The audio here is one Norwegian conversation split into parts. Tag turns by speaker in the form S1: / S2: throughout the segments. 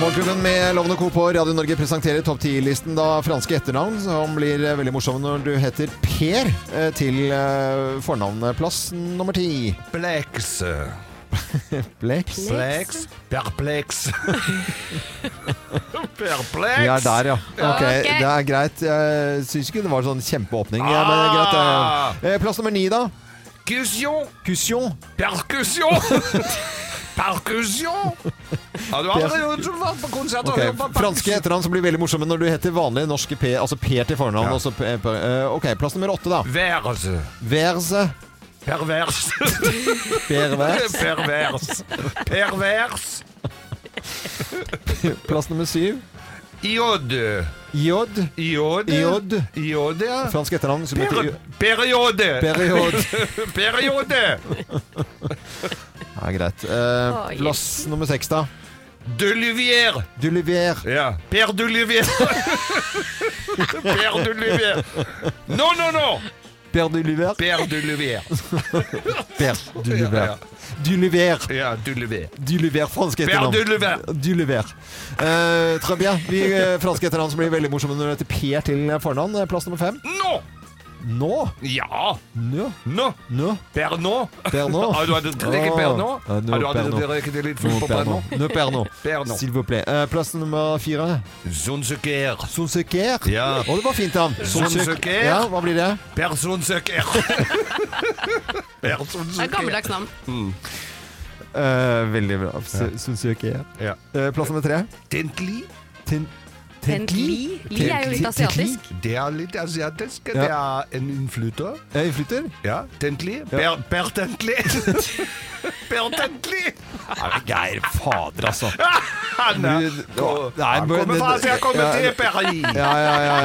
S1: Morgenklubben med Lovende Co. på Radio Norge presenterer topp 10-listen da franske etternavn, som blir eh, veldig morsomme når du heter Per, eh, til eh, fornavneplass nummer ti.
S2: Perplex.
S1: Blex.
S2: Plex. Perplex. Perplex.
S1: Vi er der, ja. Ok,
S3: Ok.
S1: Det er greit. Jeg syns ikke det var sånn kjempeåpning. Ja, men det er greit.
S2: Ah!
S1: det er- Eh, Plass nummer ni, da.
S2: Perkusjon.
S1: Cussion.
S2: Perkusjon. Perkusjon. Ja, du har aldri vært på konsert og
S1: Ok,
S2: hørt på perkusjon.
S1: Franske etternavn som blir veldig morsomme når du heter vanlig norske Per, altså Per til fornavn.
S2: Ja.
S1: og så P- P- eh, ok, plass nummer åtte, da.
S2: Vers.
S1: Verse.
S2: Pervers.
S1: Pervers.
S2: Pervers. Pervers.
S1: Plass nummer syv.
S2: Iod.
S1: Jod.
S2: Iod.
S1: Iod.
S2: Iod, ja.
S1: Fransk etternavn som heter
S2: Per
S1: Jod.
S2: periode.
S1: Period.
S2: periode.
S1: Ja, greit. Eh,
S3: Oi.
S1: plass nummer seks, da.
S2: Duluvier.
S1: Dulivier.
S2: Ja. Per Duluvier. per Duluvier. Non, non, non.
S1: Per Dulivier.
S2: Per Duluvier.
S1: Per
S2: Ja,
S1: Dulivier. Dulivier.
S2: ja Duluvier.
S1: Dulivier, fransk
S2: Per
S1: etternavn.
S2: Duluvier.
S1: Dulivier. Eh, très bien. Vi eh, franske etternavn som blir veldig morsomme når du heter Per til fornavn. Eh, Plass nummer fem.
S2: Nå.
S1: Nå.
S2: Ja.
S1: Nå.
S2: Nå.
S1: Nå.
S2: Per nå.
S1: Per nå.
S2: Har Ah, du hatt et drikk i Per nå?
S1: Ah, ah, nå,
S2: Har du hatt
S1: Per
S2: et
S1: nå.
S2: drikk i litt
S1: Nå,
S2: full på
S1: Per
S2: Per
S1: nå.
S2: nå?
S1: Nå, Per nå.
S2: Per nå.
S1: S'il vous plaît. Eh, plass nummer fire.
S2: Zonsuker.
S1: Sonsuker.
S2: Ja.
S1: Å, det var fint, han. Sonsuker.
S2: Sonsuker.
S1: Ja, hva blir det?
S2: Per Zonsuker. Per
S3: Det er et
S2: Zonsuker.
S3: gammeldags navn.
S1: Eh, veldig bra. Sonsuker.
S2: Ja.
S1: Eh, plass nummer tre.
S2: Tintli.
S1: Ten,
S3: Tentli. Li er jo litt asiatisk.
S2: Det er litt asiatisk.
S1: Ja.
S2: Det er en innflytter.
S1: Jeg flytter.
S2: Ja, Tentli. Per, per Tentli. per Tentli!
S1: Geir fader, altså.
S2: Han er-
S1: Du-
S2: Ko-
S1: Nei,
S2: han
S1: men-
S2: kommer fra Asia, kommer
S1: Ja,
S2: til Paris.
S1: Ja, ja, ja.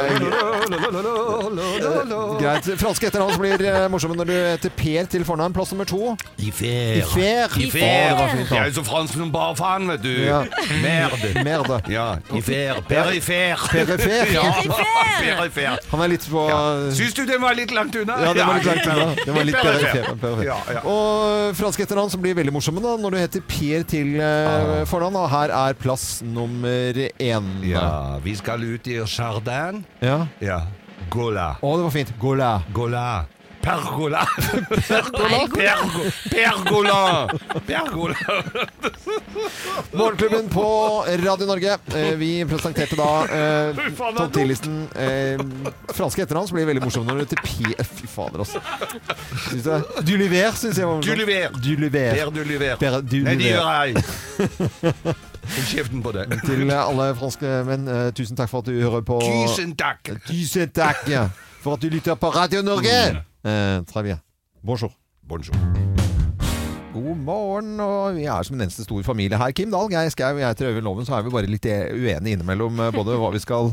S2: Lalalala.
S1: Greit. Franske etternavn blir eh, morsomme når du heter Per til fornavn. Plass nummer to.
S2: Ifer.
S1: Ifer. Å,
S2: Ifer.
S1: det var fint, da.
S2: Jeg er så fransk som bare faen, vet du.
S1: Ja.
S2: Merde.
S1: Merde.
S2: Ja, Ifer. Per Ifer.
S1: Perifer.
S2: Ja, Per Ifer.
S1: Han er litt på
S2: Ja. Syns du den var litt langt unna?
S1: Ja, det var litt langt unna. Det var litt perifer. perifer.
S2: Ja, ja.
S1: Og franske etternavn som blir veldig morsomme da, når du heter Per til eh,
S2: Ah.
S1: fornavn. Og her er plass nummer én.
S2: Ja, vi skal ut i Chardin.
S1: Ja.
S2: Ja. Gola.
S1: Å, det var fint. Gola.
S2: Gola. Pergola. Pergola. Pergo Pergola. Pergola.
S1: Morgenklubben på Radio Norge. Eh, vi presenterte da eh,
S2: Fy faen, det er
S1: topp 10-listen. Eh, franske etternavn som blir veldig morsomme når du heter Per Fy fader, altså. Syns jeg- Duliver syns jeg var morsomt.
S2: Duliver.
S1: Duliver.
S2: Per Dulliver.
S1: Per
S2: Nei, det
S1: Duliver.
S2: gjør jeg. Hold kjeften på deg.
S1: Til alle franske menn, eh, tusen takk for at du hører på
S2: Tusen takk.
S1: Tusen takk ja, for at du lytter på Radio Norge.
S2: Mm.
S1: Eh, très bien. Bonjour.
S2: Bonjour.
S1: God morgen, og vi er som en eneste stor familie her. Kim Dahl, Geir Skau og jeg heter Øyvind Loven, så er vi bare litt uenige innimellom eh, både hva vi skal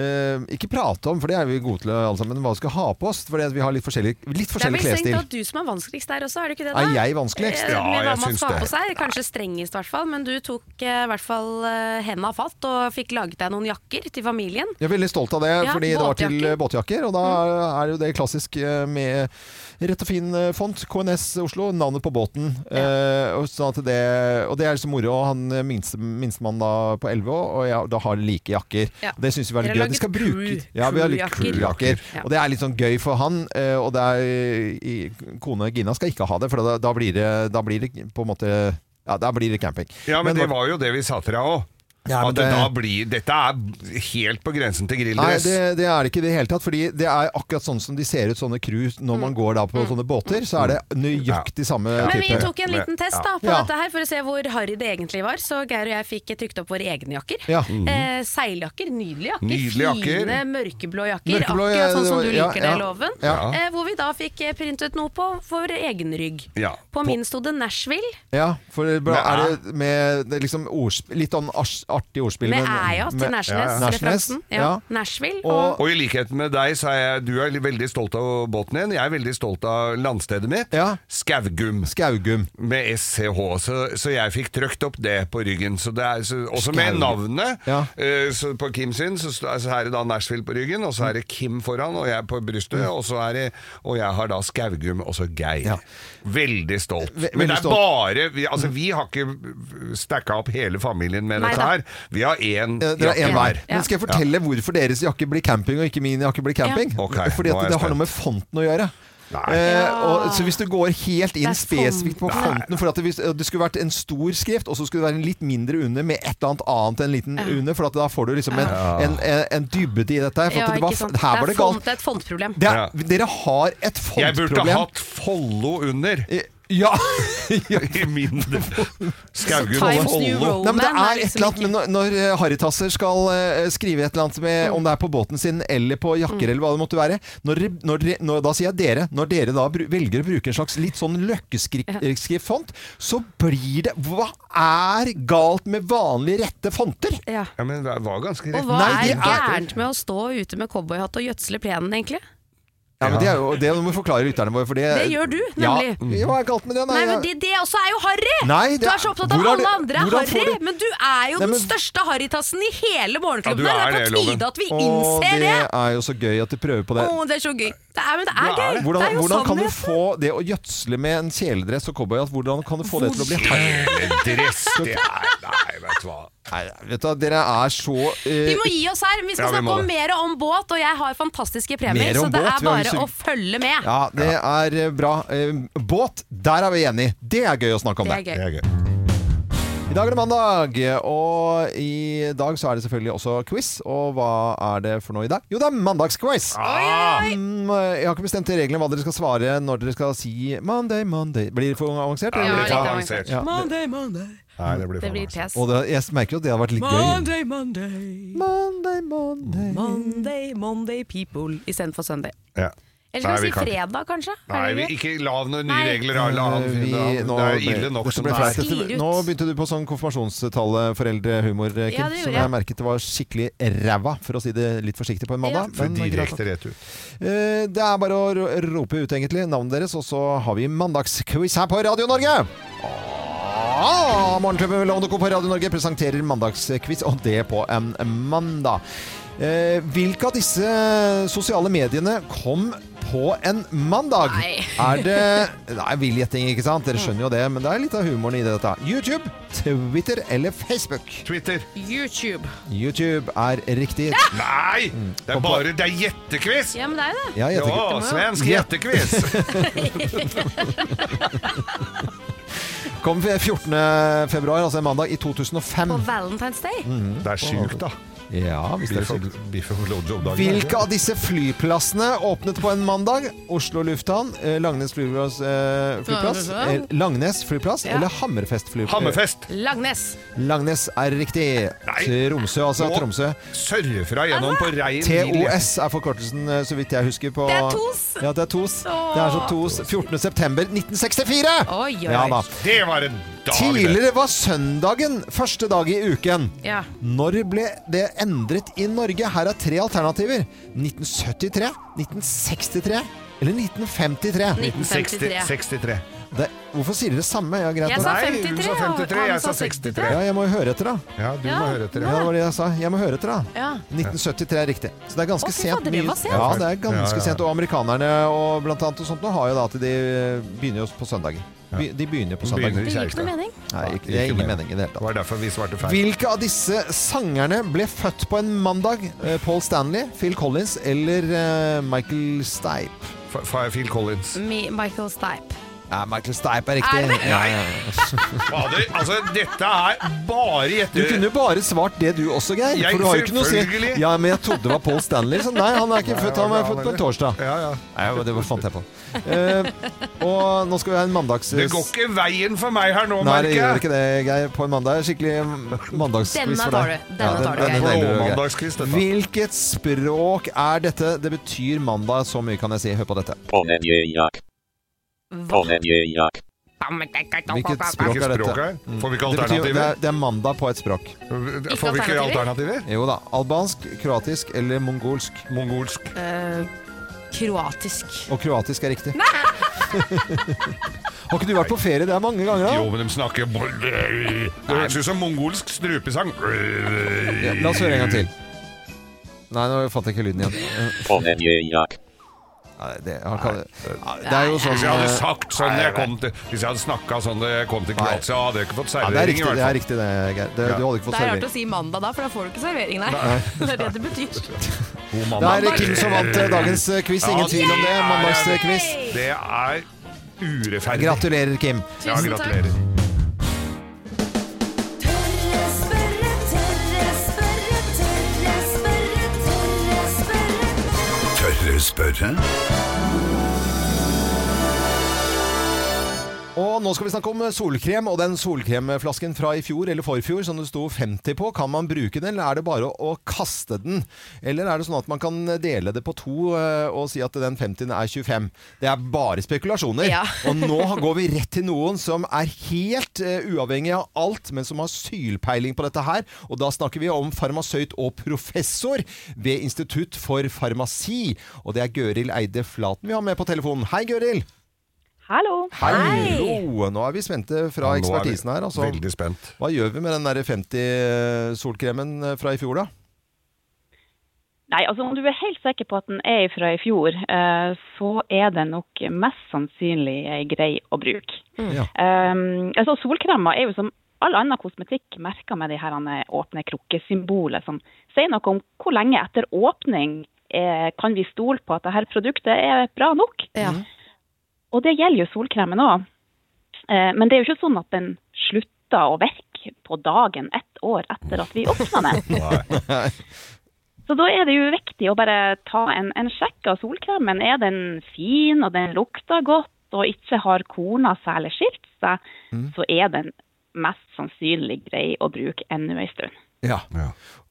S1: eh, ikke prate om, for det er vi gode til eh, alle sammen, men hva vi skal ha på oss. Fordi at vi har litt forskjellig, litt
S3: Det er
S1: forskjellig
S3: vel strengt
S1: klesstil.
S3: tatt du som er vanskeligst der også, er du ikke det? da? Eh,
S1: Er jeg vanskeligst?
S2: Ja,
S3: med hva
S2: jeg
S3: man
S2: syns
S3: skal ha
S2: det.
S3: på seg. Kanskje strengest, i hvert fall. Men du tok eh, i hvert fall eh, henda fatt og fikk laget deg noen jakker til familien.
S1: Jeg er veldig stolt av det,
S3: Ja,
S1: fordi det var til
S3: båtjakker. Mm.
S1: båtjakker. Og da er jo det klassisk eh, med rett og fin eh, font. KNS Oslo, navnet på båten. Eh, og, sånn at det, og det er så moro. og Han eh, minste, minstemann da på 11 år, og jeg da har like jakker.
S3: Ja.
S1: Det syns vi er
S3: Dere
S1: veldig gøy.
S3: har
S1: at De skal
S3: laget
S1: bruke
S3: crew-
S1: Ja, vi har litt
S3: crewjakker.
S1: crewjakker.
S3: Ja.
S1: Og det er litt sånn gøy for han. eh, Og det er, i- kone Gina skal ikke ha det, for da, da, blir, det, da blir det på en måte Ja, da blir det camping.
S2: Ja, men,
S1: Men
S2: det var jo det vi sa til deg òg.
S1: Ja, men
S2: at det,
S1: det-
S2: da blir Dette er helt på grensen til
S1: Nei,
S2: grilldress.
S1: det, det er det ikke i det hele tatt. Fordi det er akkurat sånn som de ser ut, sånne cruise når man går da på sånne båter. Så er det nøyaktig samme
S3: Mm. Men vi
S1: type.
S3: tok en liten test da på
S1: Ja.
S3: dette her for å se hvor harry det egentlig var. Så Geir og jeg fikk trykt opp våre egne jakker.
S1: Ja. Mhm.
S3: eh, seiljakker, nydelige jakker.
S2: Nydelige jakker.
S3: Fine mørkeblå jakker.
S1: Mørkeblå, ja,
S3: akkurat sånn
S1: det
S3: som
S1: var-
S3: du
S1: ja,
S3: liker
S1: ja.
S3: det, Loven.
S1: Ja.
S3: Eh, hvor vi da fikk eh, printet noe på vår egen rygg.
S2: Ja.
S3: På min sto det Nashville.
S1: Ja, for det
S2: Med
S1: er det med det er liksom ordspill, litt sånn ars- artig ordspill.
S3: Med
S1: men-
S3: æja til
S1: med-
S3: Nashnes-referansen.
S1: Nashnes,
S3: Ja.
S1: ja.
S3: Nashville.
S1: Og-
S3: Og,
S2: Og i likhet med deg, så er jeg, du er veldig stolt av båten din. Jeg er veldig stolt av landstedet mitt.
S1: Ja.
S2: Skaugum.
S1: Skaugum.
S2: Med SCH, så, så jeg fikk trøkt opp det på ryggen. Så det er, så, også med
S1: Skaugum.
S2: navnet.
S1: Ja.
S2: eh, så på Kim sin så, st- så er det da Nashville på ryggen, og så er det Kim foran, og jeg på brystet, og, så er det, og jeg har da Skaugum, og så
S1: Mm.
S2: Geir.
S1: Ja.
S2: Veldig stolt.
S1: Ve- veldig
S2: Men det er
S1: stolt. Mm.
S2: bare vi, Altså, vi har ikke stacka opp hele familien med
S3: Nei
S2: dette
S3: da.
S2: her. Vi har én
S1: Eh, Dere er én
S2: jakke
S1: hver.
S3: Ja.
S1: Men skal jeg fortelle hvorfor deres jakke blir camping og ikke min jakke blir camping? Eh,
S2: Ja. Ok,
S1: Fordi
S2: nå er
S1: at
S2: jeg
S1: det har
S2: spent.
S1: noe med fonten å gjøre.
S2: Nei.
S1: Eh, og, så hvis du går helt inn
S3: Det er
S1: spesifikt på
S2: fonten.
S1: fonten For at det, hvis, eh, det skulle vært en stor skrift, og så skulle det være en litt mindre under med et eller annet annet enn en liten under, for at da får du liksom en, en, en, en dybde i dette her. For
S3: ja,
S1: at det var,
S3: ikke sant.
S1: her var
S3: det
S1: det
S3: er font,
S1: galt.
S3: et fontproblem.
S1: Det er, Dere har et
S2: Jeg burde
S1: fontproblem.
S2: hatt Follo under.
S1: Eh, Ja! ja.
S2: I mindre Skaugum
S3: Så Times
S2: og
S3: New
S2: Follo.
S1: Nei,
S3: Roman
S1: men det
S3: er
S1: er et
S3: liksom
S1: eller annet
S3: ikke-
S1: men når, når eh, harrytasser skal eh, skrive et eller annet med,
S3: Mm.
S1: om det er på båten sin eller på jakker eller hva det måtte være når, dere- når, dere- når, Da sier jeg dere. Når dere da bru, velger å bruke en slags litt sånn løkkeskriftfont, så blir det Hva er galt med vanlig rette fonter?
S3: Ja.
S2: Ja, men det var ganske
S3: Og
S2: rett.
S3: hva
S1: Nei, det
S3: er
S1: er-
S3: gærent med å stå ute med cowboyhatt og gjødsle plenen, egentlig?
S1: Ja, men Det er jo det må vi forklare lytterne våre, for det
S3: Det gjør du, nemlig.
S1: Ja, hva er galt med det?
S3: Nei, men
S1: jeg-
S3: det, det også er jo harry!
S1: Nei, det
S3: Du
S1: er-
S3: er så opptatt av
S1: hvor er
S3: alle
S1: det-
S3: andre er
S1: hvordan får
S3: harry,
S1: du-
S3: men du er jo
S1: Nei, men-
S3: den største harrytassen i hele morgenklubben.
S2: Ja, du
S3: her.
S2: er
S3: det er
S2: det,
S3: på
S2: Loven.
S3: tide at vi
S1: Å,
S3: innser
S1: det
S3: det!
S1: er jo så gøy at de prøver på
S3: Å,
S1: det.
S3: det er så gøy. Det er, men det er
S2: Ja,
S3: gøy.
S1: Hvordan,
S3: det er jo
S1: hvordan kan du
S3: sannheten.
S1: få det å gjødsle med en kjeledress og cowboyhatt Hvordan kan du få det til å bli harry?
S2: Dress, det er Nei, vet du hva.
S1: Nei, vet du, hva, dere er så eh,
S3: Vi må gi oss her. Vi
S2: Ja,
S3: skal
S2: vi må
S3: snakke om
S2: det.
S3: mer om båt, og jeg har fantastiske
S1: Mer
S3: premier,
S1: om
S3: så
S1: båt,
S3: det er
S1: vi har
S3: bare
S1: lyst til-
S3: å følge med.
S1: Ja, det er eh, bra. Eh, Båt, der er vi enige. Det er gøy å snakke om
S3: Det
S1: det.
S3: er gøy.
S2: Det er gøy.
S1: I dag er det mandag, og i dag så er det selvfølgelig også quiz. Og hva er det for noe i dag? Jo, det er mandagsquiz.
S3: Ah.
S2: Ah!
S1: Mm, Jeg har ikke bestemt reglene om hva dere skal svare når dere skal si 'Monday, Monday'. Blir det for avansert?
S2: Det
S3: Ja,
S2: blir
S3: litt
S2: for
S3: avansert.
S2: avansert.
S1: Ja.
S4: Monday, Monday,
S2: Nei, det blir
S3: Det
S2: for
S3: blir
S2: avansert.
S3: pes.
S1: Og det, jeg merker jo at det har vært litt gøy.
S4: Monday, Monday,
S1: Monday, Monday.
S4: Monday, Monday people.
S3: Istedenfor søndag.
S2: Ja.
S3: Eller skal
S2: Nei, vi
S3: vi si
S2: kan ikke.
S3: fredag, kanskje? Er
S2: Nei,
S3: det
S2: vi,
S3: greit?
S2: ikke lav noen nye
S3: Nei.
S2: regler. da. La han
S1: Eh, Vi-
S2: finne det.
S1: nå
S2: Det er
S1: ble-
S2: ille nok
S1: dette
S2: som
S1: ble
S2: det
S1: flaut.
S2: er.
S3: Sklir
S1: Dette-
S3: ut.
S1: Nå begynte du på sånn konfirmasjonstallet foreldrehumor, Kim,
S3: Ja, det gjorde
S1: som
S3: jeg.
S1: jeg merket det var skikkelig ræva, for å si det litt forsiktig på en mandag.
S2: For
S1: men greit nok.
S2: direkte rett ut.
S1: Eh, Det er bare å ro- rope ut egentlig navnet deres, og så har vi mandagsquiz her på Radio Norge! Ah, Morgenklubben med Lovende Co på Radio Norge presenterer mandagsquiz, og det på en mandag. Eh, Hvilke av disse sosiale mediene kom på en mandag?
S3: Nei.
S1: Er det Det er vill gjetting, ikke sant? Dere skjønner jo det, men det er litt av humoren i dette. YouTube, Twitter eller Facebook?
S2: Twitter.
S3: YouTube.
S1: YouTube er riktig.
S2: Nei! Det er
S1: Kom på.
S2: bare Det er gjettekviss!
S3: Ja, men det er jo det.
S1: Ja, jeg
S2: Ja,
S1: tenker-
S2: svensk
S1: Ja.
S2: gjettekviss!
S1: Kom 14. februar, altså en mandag i 2005.
S3: På Valentine's Day.
S1: Mm.
S2: Det er sjukt, da.
S1: Ja, hvis det er slik.
S2: Biff og blowjob-dagen.
S1: Hvilke av disse flyplassene åpnet på en mandag? Oslo lufthavn, eh, Langnes flyplass, eh, flyplass eh, Langnes flyplass eller Hammerfest flyplass?
S2: Hammerfest!
S3: Langnes.
S1: Langnes er riktig.
S2: Nei.
S1: Tromsø, altså.
S2: Nå-
S1: Tromsø.
S2: Surfra gjennom på rein bil.
S1: TOS er forkortelsen, eh, så vidt jeg husker. På,
S3: Det er tos.
S1: Ja, det er TOS.
S3: Åh.
S1: Det er så TOS. 14. september 1964!
S3: Oi, oi,
S1: Ja
S3: oi.
S1: da.
S2: Det var en dag! det.
S1: Tidligere var søndagen første dag i uken.
S3: Ja.
S1: Når ble det endret i Norge? Her er tre alternativer. 1973, 1963 eller 1953.
S3: 1953.
S2: 63.
S1: Det, hvorfor sier dere samme? Ja, greit.
S3: Jeg
S1: nok.
S3: sa
S2: Nei, du
S3: 53,
S2: sa 53,
S3: og han
S2: jeg
S3: sa
S2: sa 63.
S1: Ja, jeg må jo høre etter, da.
S2: Ja, du
S3: Ja.
S2: må høre etter.
S1: Ja, det var det jeg sa. Jeg må høre etter, da.
S3: Ja.
S1: 1973 er riktig. Så det er ganske
S3: Å, fy fader,
S1: sent.
S3: det
S1: Mye-
S3: var sent.
S1: Ja, det er ganske
S2: Ja, ja, ja.
S1: sent. Og amerikanerne og blant annet og sånt nå har jo da at de begynner jo på søndager. Be- De begynner på søndager.
S2: Begynner.
S3: Det gir ikke noe mening.
S1: Nei, ikke- det er ingen mening i det hele tatt.
S2: Det var derfor vi svarte feil.
S1: Hvilke av disse sangerne ble født på en mandag? Eh, Paul Stanley, Phil Collins eller eh, Michael Stipe?
S2: F- F- Phil Collins.
S3: Mi- Michael Stipe.
S1: Ja, Michael Stipe er riktig.
S3: Er det?
S1: Ja, ja, ja.
S3: Mm.
S2: Fader, altså, dette er bare gjette...
S1: Du kunne jo bare svart det du også, Geir.
S2: Jeg-
S1: for du har jo ikke noe å si.
S2: selvfølgelig.
S1: Ja, men jeg trodde det var Paul Stanley. Så nei, han er ikke født. Han er født på en torsdag.
S2: Ja, ja.
S1: Nei, men det var- fant jeg på. Eh, og nå skal vi ha en mandags...
S2: Det går ikke veien for meg her nå,
S1: Nei, det
S2: merker
S1: gjør
S2: jeg.
S1: ikke det, Geir. På en mandag. Skikkelig mandagsquiz
S3: Denne
S1: for
S3: tar
S1: deg.
S3: du. Denne tar du, Geir.
S1: nailer du, Geir.
S2: Blåmandagsquiz, dette.
S1: Hvilket språk er dette? Det betyr mandag. Så mye kan jeg si. Hør på dette.
S5: Ponemjejak. Ponemjejak.
S1: Hvilket språk
S2: Hvilket
S1: er
S2: språk
S1: dette?
S2: er Mm. det? Får vi ikke
S1: Det, betyr, det,
S2: alternativer?
S1: er, det er mandag på et språk.
S2: Får vi ikke
S3: alternativer?
S2: alternativer?
S1: Jo da. Albansk, kroatisk eller mongolsk.
S2: Mongolsk.
S3: Eh, Kroatisk.
S1: Og kroatisk er riktig. Har ikke du vært på ferie der mange ganger? da?
S2: Jo, men de snakker Det høres ut som mongolsk strupesang.
S1: Ja, la oss høre en gang til. Nei, nå fant jeg ikke lyden igjen.
S5: Ponemjejak.
S1: Nei, det, han kan, Nei, det er jo sånn
S2: Hvis jeg hadde
S1: eh,
S2: sagt sånn jeg kom til Hvis jeg hadde snakka sånn da jeg kom til Kroatia, hadde jeg ikke fått
S1: ja, det, er
S2: servering, i
S1: riktig,
S2: hvert
S1: det er
S2: fall.
S1: riktig, det, Geir. Det,
S2: Ja.
S1: du hadde ikke
S3: Det
S1: fått
S3: er rart å
S1: servering.
S3: si mandag da, for da får du ikke servering, nei. Det er det det betyr.
S2: God
S1: Det
S2: mandag.
S1: er Kim som vant eh, dagens eh, quiz.
S2: Ja,
S1: Ingen tvil om det.
S2: er-
S1: Mandagsquiz.
S2: Det er urettferdig.
S1: Gratulerer, Kim.
S2: Ja,
S3: Tusen takk.
S2: gratulerer.
S6: Tørre spørre, tørre spørre, tørre spørre, tørre spørre.
S7: Tørre spørre?
S1: Og nå skal vi snakke om solkrem, og den solkremflasken fra i fjor eller forfjor som det sto 50 på, kan man bruke den, eller er det bare å å kaste den? Eller er det sånn at man kan dele det på to eh, og si at den 50-en er 25? Det er bare spekulasjoner.
S3: Ja.
S1: og nå går vi rett til noen som er helt eh, uavhengig av alt, men som har sylpeiling på dette her. Og da snakker vi om farmasøyt og professor ved Institutt for farmasi. Og det er Gøril Eide Flaten vi har med på telefonen. Hei, Gøril!
S8: Hallo.
S1: Hei! Hallo! Nå er vi spente fra
S2: Nå er vi
S1: ekspertisen her. Altså,
S2: Veldig spent.
S1: hva gjør vi med den der 50-solkremen eh, fra i fjor, da?
S8: Nei, altså om du er helt sikker på at den er fra i fjor, eh, så er den nok mest sannsynlig eh, grei å bruke.
S2: Mm.
S1: Ja.
S8: Um, altså Solkremer er jo som all annen kosmetikk merka med de her eh, åpne krukkesymbolet, som sier noe om hvor lenge etter åpning eh, kan vi stole på at dette produktet er bra nok.
S3: Ja.
S8: Og det gjelder jo solkremen òg. Eh, men det er jo ikke sånn at den slutter å virke på dagen ett år etter at vi åpna den. Så da er det jo viktig å bare ta en, en sjekk av solkremen. Er den fin, og den lukter godt, og ikke har korna særlig skilt seg, så er den mest sannsynlig grei å bruke ennå en stund.
S1: Ja.
S2: Ja.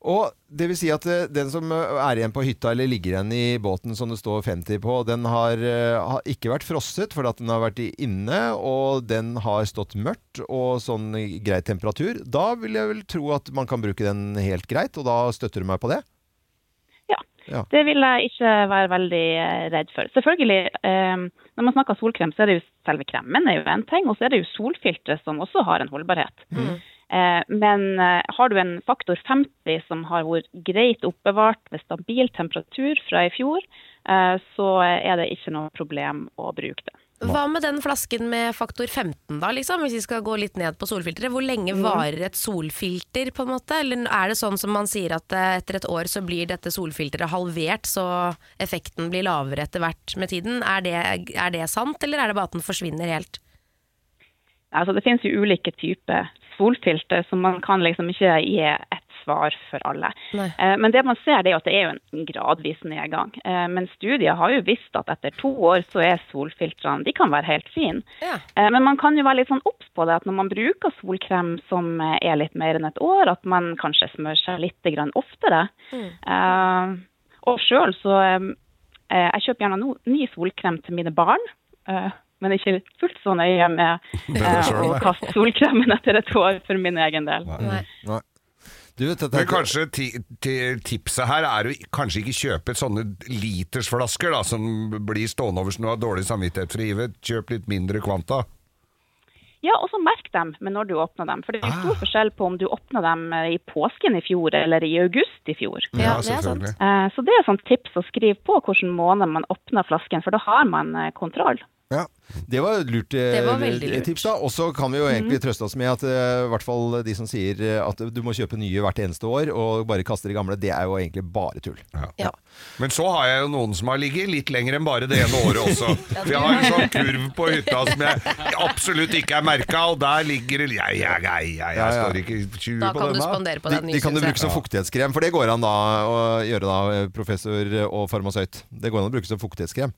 S1: Og det vil si at eh, den som eh, er igjen på hytta eller ligger igjen i båten som det står 50 på, den har, eh, har ikke vært frosset fordi at den har vært i- inne, og den har stått mørkt og sånn i grei temperatur. Da vil jeg vel tro at man kan bruke den helt greit, og da støtter du meg på det?
S8: Ja.
S1: Ja.
S8: Det vil jeg ikke være veldig eh, redd for. Selvfølgelig, eh, når man snakker solkrem, så er det jo selve kremen er jo en ting, og så er det jo solfiltre som også har en holdbarhet. Eh, men eh, har du en faktor 50 som har vært greit oppbevart ved stabil temperatur fra i fjor, eh, så er det ikke noe problem å bruke det.
S3: Hva med den flasken med faktor 15, da, liksom? Hvis vi skal gå litt ned på solfilteret. Hvor lenge varer et solfilter, på en måte? Eller er det sånn som man sier at eh, etter et år så blir dette solfilteret halvert, så effekten blir lavere etter hvert med tiden? Er det, er det sant, eller er det bare at den forsvinner helt?
S8: Altså, det finnes jo ulike typer solfilter, så man kan liksom ikke gi ett svar for alle.
S3: Nei.
S8: Eh, Men det man ser, det er jo at det er jo en gradvis nedgang. Eh, Men studier har jo visst at etter to år så er solfiltrene De kan være helt fine.
S3: Ja.
S8: Eh, Men man kan jo være litt sånn obs på det at når man bruker solkrem som eh, er litt mer enn et år, at man kanskje smører seg litt grann oftere. Eh, Og sjøl så eh, Jeg kjøper gjerne no, ny solkrem til mine barn. eh, Men ikke fullt så nøye med
S2: er
S8: eh,
S2: selv,
S8: å
S2: det.
S8: kaste solkremen etter et år for min egen del.
S3: Nei.
S1: Du vet, dette er
S2: Men
S1: ikke-
S2: kanskje ti, ti, tipset her er å kanskje ikke kjøpe sånne litersflasker da, som blir stående over så du har dårlig samvittighet for å give. Kjøp litt mindre kvanta.
S8: Ja, og så merk dem med når du åpner dem. For det er jo
S2: Ah.
S8: stor forskjell på om du åpner dem eh, i påsken i fjor eller i august i fjor.
S3: Ja, det er sant.
S8: Eh, Så det er et sånt tips å skrive på hvilken måned man åpner flasken, for da har man eh, kontroll.
S1: Ja, Det var et lurt, eh,
S3: Det var veldig lurt. Mhm.
S1: tips. da Og så kan vi jo egentlig trøste oss med at eh, i hvert fall de som sier eh, at du må kjøpe nye hvert eneste år og bare kaste de gamle, det er jo egentlig bare tull.
S3: Ja.
S2: Men så har jeg jo noen som har ligget litt lenger enn bare det ene året også. For jeg har en sånn kurv på hytta som jeg absolutt ikke er merka, og der ligger det Jeg, jeg, jeg, jeg, jeg står ikke 20
S3: Da
S2: på
S3: kan du
S2: denne.
S3: spandere på
S1: De,
S3: den.
S1: de kan du
S3: synes jeg.
S1: bruke som fuktighetskrem, for det går an da å gjøre da, eh, professor og farmasøyt. Det går an å bruke som fuktighetskrem.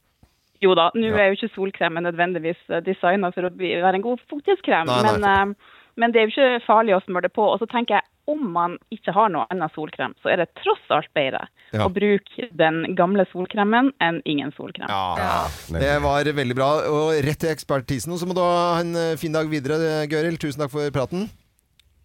S8: Jo da, nå er jo ikke solkremen nødvendigvis designa for å bli, være en god fuktighetskrem,
S1: Nei, nei.
S8: Men, eh, men det er jo ikke farlig å smøre det på. Og så tenker jeg om man ikke har noe annet solkrem, så er det tross alt bedre
S1: Ja.
S8: å bruke den gamle solkremen enn ingen solkrem.
S1: Ja, Det var veldig bra. Og rett til ekspertisen. Og så må du ha en eh, fin dag videre, Gøril. Tusen takk for praten.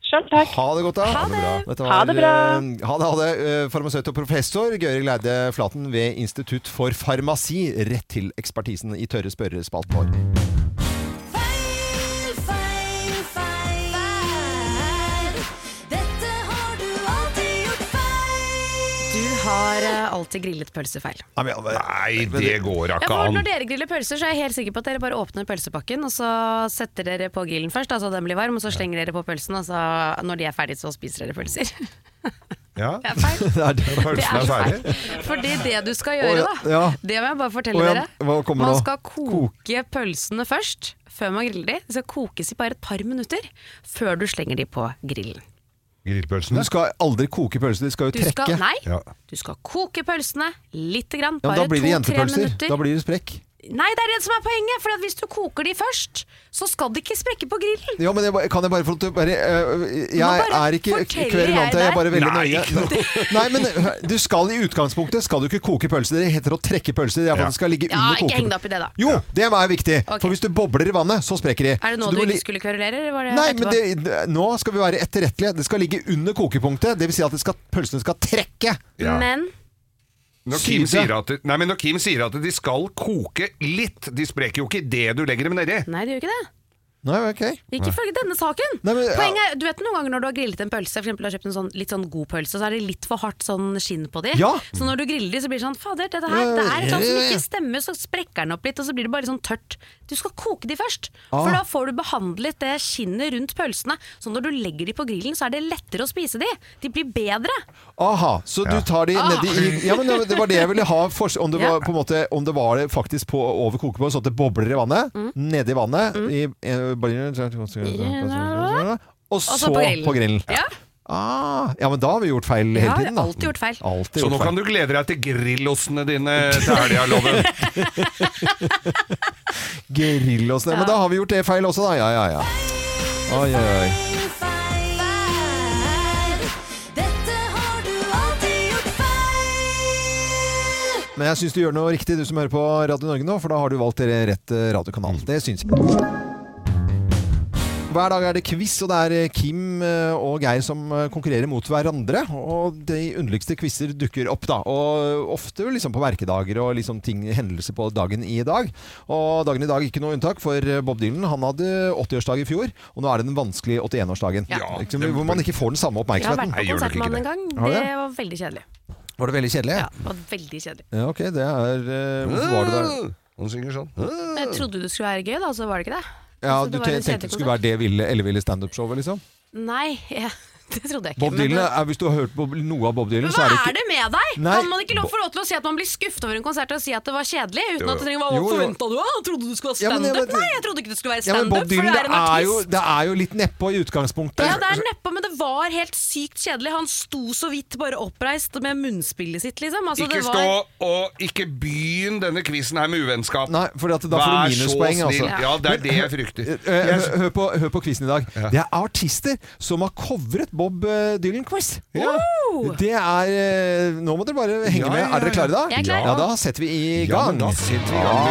S8: Sjøl takk.
S1: Ha det godt, da. Ha det, var,
S8: Ha det bra.
S1: eh, Ha det, ha det. Eh, Farmasøyt og professor Gøril Eide Flaten ved Institutt for farmasi. Rett til ekspertisen i tørre spørrespalten vår.
S6: Feil, feil, feil. Dette har du alltid gjort feil.
S3: Du har eh, alltid grillet pølsefeil.
S1: Nei, men, eh,
S2: Nei, det går
S3: Ja,
S2: ikke
S3: for
S2: an.
S3: når dere griller pølser, så er jeg helt sikker på at dere bare åpner pølsepakken, og så setter dere på grillen først, altså den blir varm, og så slenger dere på pølsen, og så når de er ferdige, så spiser dere pølser.
S2: Ja.
S3: Det er feil.
S1: det er det.
S3: Det
S2: Pølsen
S3: er
S2: er
S3: feil.
S2: ferdig.
S3: Fordi det du skal
S1: Å,
S3: gjøre,
S1: ja.
S3: da,
S1: Ja.
S3: det må jeg bare
S1: Å, ja.
S3: fortelle dere.
S1: Hva kommer
S3: Man
S1: nå?
S3: skal koke pølsene først, før man griller de. De skal kokes i bare et par minutter før du slenger de på grillen.
S1: Du
S2: Grillpølsene.
S1: skal aldri koke pølser, de skal jo
S3: Du skal,
S1: trekke.
S3: nei,
S2: Ja.
S3: du skal koke pølsene lite grann.
S1: Ja, men
S3: Bare
S1: da blir det
S3: to-tre
S1: jentepølser.
S3: minutter.
S1: Da blir det sprekk.
S3: Nei, det er det som er poenget. For at hvis du koker de først, så skal de ikke sprekke på grillen.
S1: Ja, men jeg, bare- kan jeg bare få lov til å bare øh, Jeg
S3: bare
S1: er ikke
S3: forteller
S1: kverulant,
S3: jeg
S1: jeg er bare veldig
S2: Nei,
S1: nøye.
S2: ikke noe.
S1: Nei, men hør, du skal i utgangspunktet skal du ikke koke pølser. Det heter å trekke pølser. Det er for
S2: Ja.
S1: at det skal ligge
S3: Ja,
S1: under
S3: ikke
S1: koke-
S3: heng deg opp i det, da.
S1: Jo, det er viktig.
S3: Ok.
S1: For hvis du bobler i vannet, så sprekker de.
S3: Er det nå
S1: Så
S3: du,
S1: må li-
S3: ikke skulle kverulere? eller Var det
S1: Nei, men
S3: etterpå?
S1: det, nå skal vi være etterrettelige. Det skal ligge under kokepunktet. Det vil si at det skal, pølsene skal trekke.
S2: Ja.
S3: Men
S2: Når Kim,
S1: Syde.
S2: sier at, nei, men når Kim sier at de skal koke litt, de spreker jo ikke det du legger dem nedi.
S3: Nei, det gjør ikke det.
S1: Nei, ok.
S3: Ikke ifølge denne saken.
S1: Nei, men-
S3: Poenget er, du vet Noen ganger når du har grillet en pølse, for eksempel har kjøpt en sånn, litt sånn god pølse, så er det litt for hardt sånn skinn på de.
S1: Ja.
S3: Så når du griller de, så blir det sånn Fader, dette her, det er et eller annet som ikke stemmer, så sprekker den opp litt, og så blir det bare sånn tørt. Du skal koke de først, for
S1: Ah.
S3: da får du behandlet det skinnet rundt pølsene. Så når du legger de på grillen, så er det lettere å spise de. De blir bedre.
S1: Aha, så du tar de nedi i Ja, men det var det jeg ville ha fors- om, det var,
S3: Ah. Ja.
S1: på en måte, om det var det faktisk på over kokepunktet, sånn at det bobler i vannet.
S3: Mm.
S1: Nedi vannet. I, eh, bare- og så på grillen.
S3: Ja.
S1: Ah, ja, men da har vi gjort feil hele
S3: Ja,
S1: tiden, da.
S3: vi har alltid gjort feil.
S1: Alltid
S2: Så
S1: gjort
S2: nå kan
S1: feil.
S2: du glede deg til grillostene dine til helga, Loven.
S1: Grill oss ned. sånn. Men da har vi gjort det feil også, da. Ja, ja, ja. Oi, oi, oi.
S6: Feil, feil. Dette har du alltid gjort feil.
S1: Men jeg syns du gjør noe riktig, du som hører på Radio Norge nå, for da har du valgt dere rett eh, radiokanal. Det syns jeg. Hver dag er det quiz, og det er eh, Kim eh, og Geir som eh, konkurrerer mot hverandre. Og de underligste quizer dukker opp, da. Og ofte liksom på merkedager og liksom ting, hendelser på dagen i dag. Og dagen i dag ikke noe unntak, for eh, Bob Dylan han hadde 80-årsdag i fjor, og nå er det den vanskelige 81-årsdagen.
S2: Ja.
S1: Liksom, hvor man ikke får den samme
S3: Jeg har
S1: oppmerksomheten.
S3: vært på
S2: Nei, gjør
S3: konsert
S2: dere
S3: med han
S2: ikke
S3: en gang.
S1: Har du
S3: Det
S1: det?
S3: var veldig kjedelig.
S1: Var det veldig kjedelig?
S3: Ja, det var veldig kjedelig.
S1: Ja, ok, det er eh, Hvorfor var du der?
S2: Han synger sånn.
S3: Jeg trodde det skulle være gøy, da, så var det ikke det.
S1: Mm. Ja,
S3: Så det
S1: du
S3: var
S1: te-
S3: en
S1: tenkte det
S3: kjedelig
S1: skulle være det ville, elleville standup-showet, liksom?
S3: Nei, jeg, det trodde jeg ikke.
S1: Bob
S3: men eh,
S1: Dylan,
S3: det-
S1: er, Hvis du har hørt på noe av Bob Dylan, så
S3: Hva
S1: er det
S3: er
S1: ikke
S3: det med deg?
S1: Nei.
S3: Kan man ikke lov, få lov til å si at man blir skuffet over en konsert og si at det var kjedelig? Uten at det trenger å være
S1: Jo,
S3: Hva
S1: jo.
S3: forventa du? da? Trodde du skulle være
S1: Ja, men jeg
S3: standup?
S1: vet-
S3: Nei, jeg trodde ikke det skulle være
S1: ja, men
S3: standup,
S1: Bob Dylan,
S3: for det
S1: det
S3: er en
S1: er, jo,
S3: artist.
S1: det er jo litt nedpå i utgangspunktet.
S3: ja, det er neppe, men det var helt sykt kjedelig. Han sto så vidt bare oppreist med munnspillet sitt, liksom. Altså,
S2: Ikke
S3: det var,
S2: stå og ikke begynn denne quizen her med uvennskap.
S1: Nei, for at da får du minuspoeng, altså.
S2: Ja, det er det jeg frykter.
S1: Eh, eh, hø- Hør på, hør på quizen i dag. Det er artister som har covret Bob eh, Dylan-quiz.
S2: Ja.
S1: Det er eh, Nå må dere bare henge
S2: Ja,
S1: med.
S2: ja,
S1: Er dere
S2: ja.
S1: klare da?
S3: Jeg er klar.
S1: Ja, da setter vi i
S2: Ja,
S1: gang.
S2: men da setter vi i gang, du.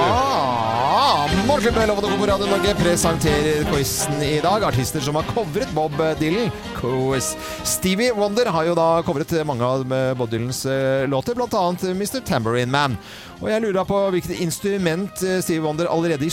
S1: Ah, Morgenklubben med Lovende Co på Radio Norge presenterer quizen i dag. Artister som har covret Bob Dylan. Quiz. Stevie Wonder har jo da covret mange av eh, Bob Dylans eh, låter, bl.a. Mr. Tambourine Man. Og jeg lurer da på hvilket instrument eh, Stevie Wonder allerede i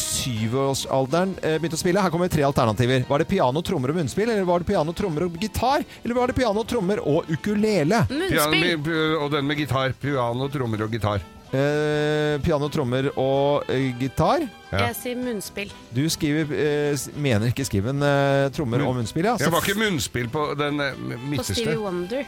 S1: syvårsalderen eh, begynte å spille. Her kommer tre alternativer. Var det piano, trommer og munnspill? Eller var det piano, trommer og gitar? Eller var det piano, trommer og ukulele?
S3: munnspill.
S2: Piano, med- og den med gitar. Piano, trommer og gitar.
S1: eh, piano, trommer og eh, gitar.
S2: Ja.
S3: Jeg sier munnspill.
S1: Du skriver, eh, s- mener ikke skriven eh, trommer og munnspill, ja.
S2: Det var ikke munnspill på den eh,
S3: På Stevie
S2: midterste.
S3: Wonder.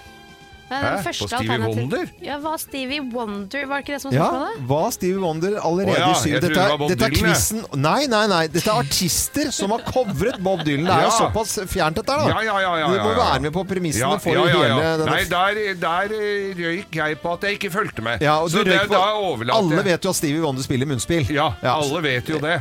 S3: Det er
S2: Hæ?
S3: den
S2: På
S3: første
S2: Stevie
S3: alternativet.
S2: Wonder?
S3: Ja, hva Stevie Wonder? Var det ikke det som var
S1: Ja,
S3: spørsmålet?
S1: hva Stevie Wonder allerede
S2: Å ja,
S1: syr.
S2: jeg trodde
S1: Dette,
S2: det
S1: er-
S2: var Bob
S1: dette er
S2: Dylan, jeg.
S1: quizen Nei, nei, nei. Dette er artister som har covret Bob Dylan. Det er jo
S2: Ja.
S1: såpass fjernt, dette her, da.
S2: Ja, ja, ja, ja,
S1: du må
S2: ja, ja.
S1: være med på premissene
S2: Ja,
S1: for
S2: ja, ja, ja.
S1: hele denne
S2: Nei, der, der eh, røyk jeg på at jeg ikke fulgte med.
S1: Ja, og
S2: Så
S1: du
S2: det,
S1: røyk på-
S2: da overlater
S1: Alle
S2: jeg.
S1: vet jo at Stevie Wonder spiller munnspill.
S2: Ja,
S1: Ja. Mm.
S2: alle vet jo det.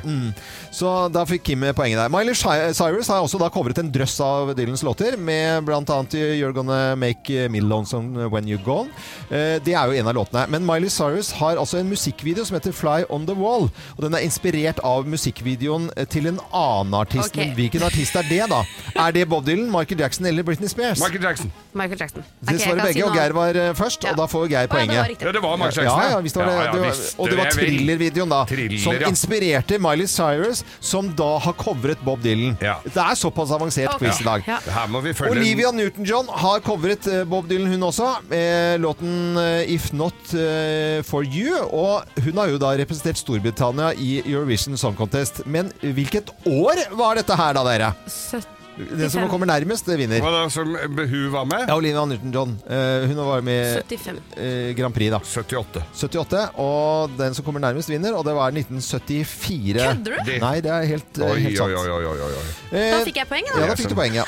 S1: Så da fikk Kim poenget der. Miley Cy- Cyrus har også da covret en drøss av Dylans låter, med bl.a. You're Gonna Make Me Lonesome When You're Gone. Eh, Det er jo en av låtene. Men Miley Cyrus har altså en musikkvideo som heter Fly On The Wall. Og den er inspirert av musikkvideoen til en annen artist.
S3: Ok.
S1: Men hvilken artist er det, da? Er det Bob Dylan, Michael Jackson eller Britney Spears?
S2: Michael Jackson.
S3: Michael Jackson.
S1: Det
S3: Ok, jeg
S1: svarer
S3: kan
S1: begge,
S3: si
S1: og
S3: noe
S1: Geir
S3: annet.
S1: var eh, først.
S3: Ja.
S1: Og da får Geir
S3: Å, ja, det
S1: poenget.
S3: var riktig.
S2: Ja, det var Michael Jackson.
S1: Ja, ja, visst var det,
S2: Ja, ja,
S1: det var,
S2: visste
S1: og det var
S2: jeg vel.
S1: thriller-videoen da,
S2: Thriller,
S1: som
S2: ja.
S1: inspirerte Miley Cyrus, som da har covret Bob Dylan.
S2: Ja.
S1: Det er såpass avansert
S3: Ok,
S1: quiz i dag.
S3: ja.
S2: Her må vi følge
S1: Olivia Newton-John har covret eh, Bob Dylan, hun også, med låten eh, If Not eh, For You. Og hun har jo da representert Storbritannia i Eurovision Song Contest. Men hvilket år var dette her, da, dere? Den som kommer nærmest, det vinner.
S2: Hva da, som hun var med?
S1: Ja, Olivia Newton-John. eh, Hun var med
S3: 75.
S1: eh, Grand Prix, da.
S2: 78.
S1: 78, og den som kommer nærmest vinner, og det var 1974.
S3: Kødder du?
S2: Det-
S1: Nei, det er helt, eh,
S2: Oi,
S1: helt
S2: oi,
S1: sant.
S2: oi, oi, oi, oi.
S3: Da
S1: Eh,
S3: fikk jeg poenget,
S1: ja,
S3: da.
S1: da fikk du poenget.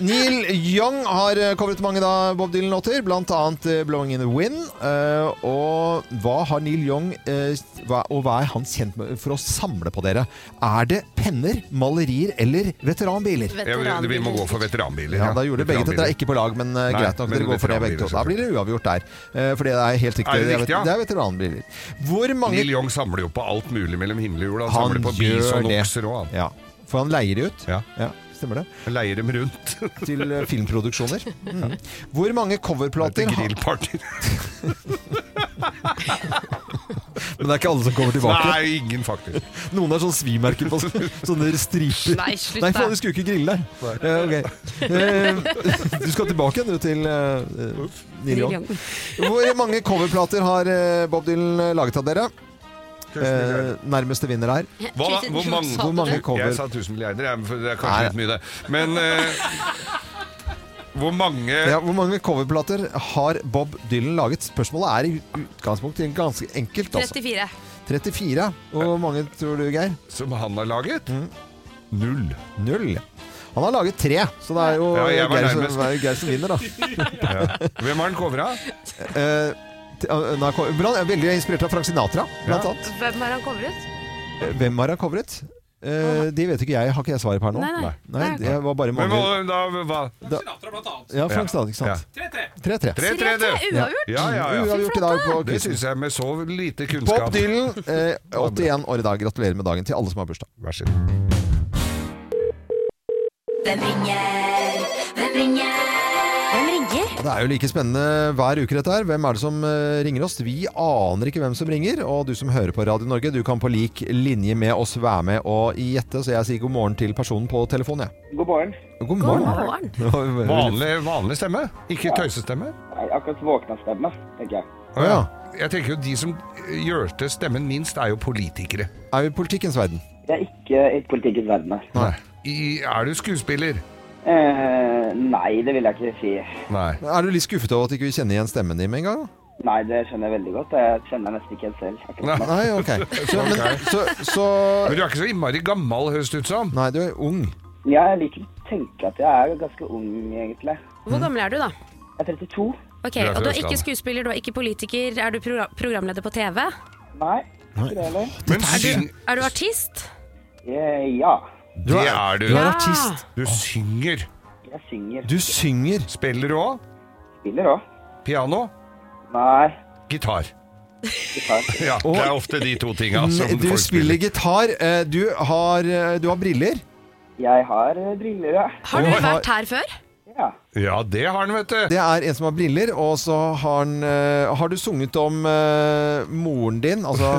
S1: Neil Young har eh, covret mange da Bob Dylan-låter, blant annet eh, 'Blowing in the Wind'. eh, Og hva har Neil Young eh, hva- Og hva er han kjent med for å samle på dere? Er det penner, malerier eller veteranbiler?
S2: Ja, vi- vi må gå for veteranbiler.
S1: Ja, da gjorde begge til. Dere er ikke på lag, men eh,
S2: Nei,
S1: greit nok.
S2: men
S1: Dere går for det begge to. Da blir det uavgjort der. Eh, For det er helt riktig.
S2: Er det
S1: er
S2: riktig,
S1: vet-
S2: ja?
S1: det er veteranbiler. Hvor mange
S2: Neil Young samler jo på alt mulig mellom himmel og jord. Han, samler på bis og okser og han.
S1: Ja, for han leier det ut.
S2: Ja.
S1: Stemmer det?
S2: Leier dem rundt
S1: Til eh, filmproduksjoner. Mm. Hvor mange coverplater
S2: til
S1: har-
S2: grillpartyer.
S1: Men det er ikke alle som kommer tilbake.
S2: Nei, ingen faktisk.
S1: Noen har sånn svimerker på så- sånne striper.
S3: Nei, slutt
S1: Nei,
S3: da.
S1: faen, du skulle ikke grille der. Eh, ok. Eh, du skal tilbake igjen, du, til uh, Neil Young. Hvor mange coverplater har eh, Bob Dylan eh, laget av dere? Eh, nærmeste vinner her.
S2: Hva da? Hvor mange-
S1: Hvor mange cover
S2: Jeg sa 1000 milliarder, jeg, for det er
S1: Nei.
S2: kanskje litt mye, det. Men eh, hvor mange
S1: Ja, hvor mange coverplater har Bob Dylan laget? Spørsmålet er i utgangspunktet ganske enkelt. Altså.
S3: 34.
S1: 34. Og hvor mange tror du, Geir?
S2: som han har laget?
S1: Mm.
S2: Null.
S1: Null. Han har laget tre, så det er jo
S2: Ja, jeg var
S1: Geir, som,
S2: nærmest.
S1: det er jo Geir som vinner, da.
S2: Hvem har han covra?
S1: Eh, t- eh, nei, ko- blant- jeg er veldig inspirert av Frank Sinatra, blant
S2: Ja.
S1: annet.
S3: Hvem har han covret?
S1: Eh, Hvem har han covret? Eh, de vet ikke jeg, har ikke jeg svaret på her nå.
S3: Nei, nei.
S1: nei det var bare
S2: Hvem
S1: mange
S2: var da hva?
S1: Ja, Frank Sinatra, ikke sant. 3-3.
S2: Tre, tre,
S3: Tre,
S2: det.
S3: tre, uavgjort.
S2: Ja, ja, ja.
S1: Uavgjort i dag på
S2: Det
S1: quizen.
S2: syns jeg med så lite
S1: Bob
S2: kunnskap.
S1: Dylan, eh, 81 år i dag. Gratulerer med dagen til alle som har bursdag.
S2: Vær så god.
S6: Hvem ringer? Hvem ringer? Hvem ringer?
S1: Og Det er jo like spennende hver uke dette her. Hvem er det som eh, ringer oss? Vi aner ikke hvem som ringer, og du som hører på Radio Norge, du kan på lik linje med oss være med og gjette, så jeg sier god morgen til personen på telefonen, jeg.
S7: God morgen.
S1: God
S3: God
S1: morgen.
S3: morgen.
S1: Det var veldig-
S2: Vanlig, vanlig stemme, ikke tøysestemme.
S7: Nei, akkurat våkna stemme, tenker jeg.
S1: Å ja.
S2: Jeg tenker jo De som eh, gjør til stemmen minst, er jo politikere.
S1: Er vi i politikkens verden?
S7: Jeg er ikke i politikkens verden her.
S1: Nei.
S2: I, er du skuespiller?
S7: Eh, nei, det vil jeg ikke si.
S2: Nei.
S1: Er du litt skuffet over at ikke vi ikke kjenner igjen stemmen din med en gang?
S7: Nei, det skjønner jeg veldig godt. Jeg kjenner nesten ikke helt selv. akkurat nå.
S1: Nei, ok. Så, men, så, så
S2: Men du er ikke så innmari gammel, høres det ut som.
S1: Nei, du er ung.
S7: Jeg liker å tenke at jeg er ganske ung, egentlig.
S3: Hvor
S1: Mm.
S3: gammel er du, da?
S7: Jeg er 32.
S3: Ok,
S2: er fra
S3: og Du er ikke
S2: Østlandet.
S3: skuespiller, du er ikke politiker. Er du progra programleder på TV?
S7: Nei, ikke det heller.
S2: Men syng,
S3: Er du artist?
S7: Eh, ja,
S2: det er du.
S1: Du er
S3: Ja.
S1: artist.
S2: Du synger.
S7: jeg synger.
S1: Du synger.
S2: Spiller du òg?
S7: Spiller òg.
S2: Piano?
S7: Nei,
S2: Gitar.
S7: gitar.
S2: Ja, det er ofte de to tinga som
S1: Du
S2: folk
S1: spiller gitar. eh, Du har, eh, du har briller.
S7: Jeg har eh, briller, ja.
S3: Har du
S1: Oi.
S3: vært her før?
S7: ja.
S2: Ja, det har han, vet du.
S1: Det er en som har briller, og så har han eh, Har du sunget om eh, moren din? Altså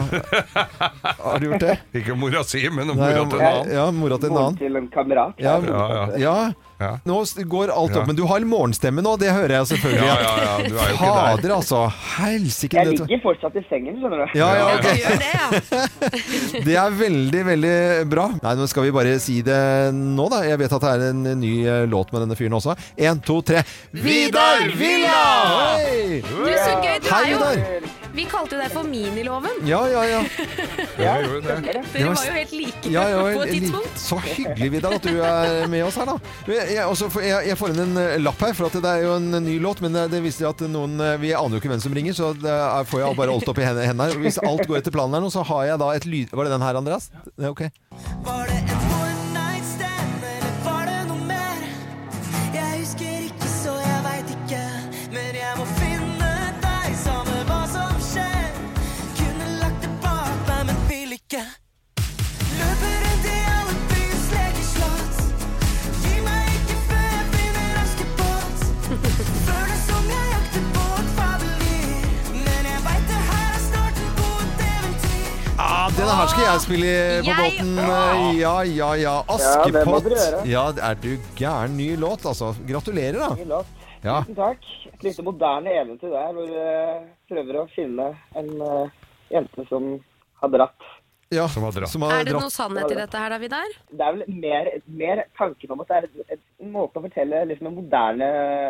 S1: Har du gjort det?
S2: Ikke mora si, men mora
S1: Nei,
S2: til en annen.
S1: Ja, mora til en
S7: Moren
S1: annen.
S7: til en kamerat.
S1: Ja,
S2: Ja, ja.
S1: ja.
S2: Ja.
S1: Nå s- går alt
S2: Ja.
S1: opp. Men du har morgenstemme nå, det hører jeg selvfølgelig.
S2: Ja, ja, ja, du er jo ikke der.
S1: Fader, altså. Helsike.
S7: Jeg
S1: dette-
S7: ligger fortsatt i sengen, skjønner du.
S1: Ja, ja,
S3: Ja,
S1: ok.
S3: du gjør det, ja.
S1: Det er veldig, veldig bra. Nei, nå skal vi bare si det nå, da. Jeg vet at det er en ny eh, låt med denne fyren også. Én, to, tre.
S3: Vidar Villa!
S1: Hei!
S3: Du, så gøy. Du
S1: Hei,
S3: er jo,
S1: Vidar!
S3: vi kalte jo deg for Miniloven.
S1: Ja, ja, ja.
S2: Ja, jo, det.
S1: Det
S3: Dere
S1: var-
S3: var jo helt like
S1: ja, ja
S3: på et
S1: li-
S3: tidspunkt.
S1: så hyggelig, Vidar, at du er med oss her, da. Jeg, jeg, også, får- jeg, jeg får inn en eh, lapp her, for at det er jo en ny låt. Men det, det viser at noen eh, Vi aner jo ikke hvem som ringer, så det er, får jeg bare alt opp i hen- hendene her. Hvis alt går etter planen her nå, så har jeg da et lyd... Var det den her, Andreas? Ja, ok.
S6: Var det et one night stand, eller var det noe mer? Jeg husker ikke, så jeg veit ikke. Men jeg må finne deg, samme hva som skjer. Kunne lagt det bak meg, men vil ikke. Løper rundt i alle byens lekeslott. Gi meg ikke før jeg finner Askepott. Føles som jeg jakter på et fabeldyr. Men jeg veit det her er starten på et eventyr.
S1: Ja, denne her skal jeg spille på
S3: Jeg-
S1: båten. Ja, ja, ja. Askepott.
S7: Ja, det må dere gjøre.
S1: Ja, er du gæren. Ny låt, altså. Gratulerer, da.
S7: Ny låt.
S1: Ja.
S7: Tusen takk. Et lite moderne eventyr der, hvor du prøver å finne en eh, jente som har dratt.
S1: ja.
S2: Som har dratt.
S1: Som har
S3: Er det
S1: dratt.
S3: noe sannhet i dette her, da, Vidar?
S7: Det er vel mer, mer tanken om at det er et, et, en måte å fortelle liksom en moderne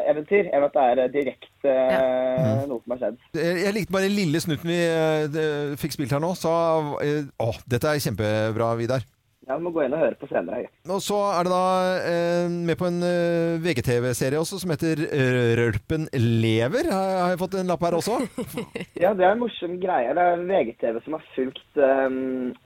S7: eventyr, enn at det er eh, direkte eh, noe som har skjedd.
S1: Jeg likte bare den lille snutten vi eh, de- fikk spilt her nå. Så eh, Å, dette er kjempebra, Vidar.
S7: Ja, vi må gå inn og høre på senere.
S1: Og så er det da eh, med på en eh, VGTV-serie også som heter eh, Rølpen lever. Har har jeg fått en lapp her også?
S7: Ja, det er en morsom greie. Det er VGTV som har fulgt eh,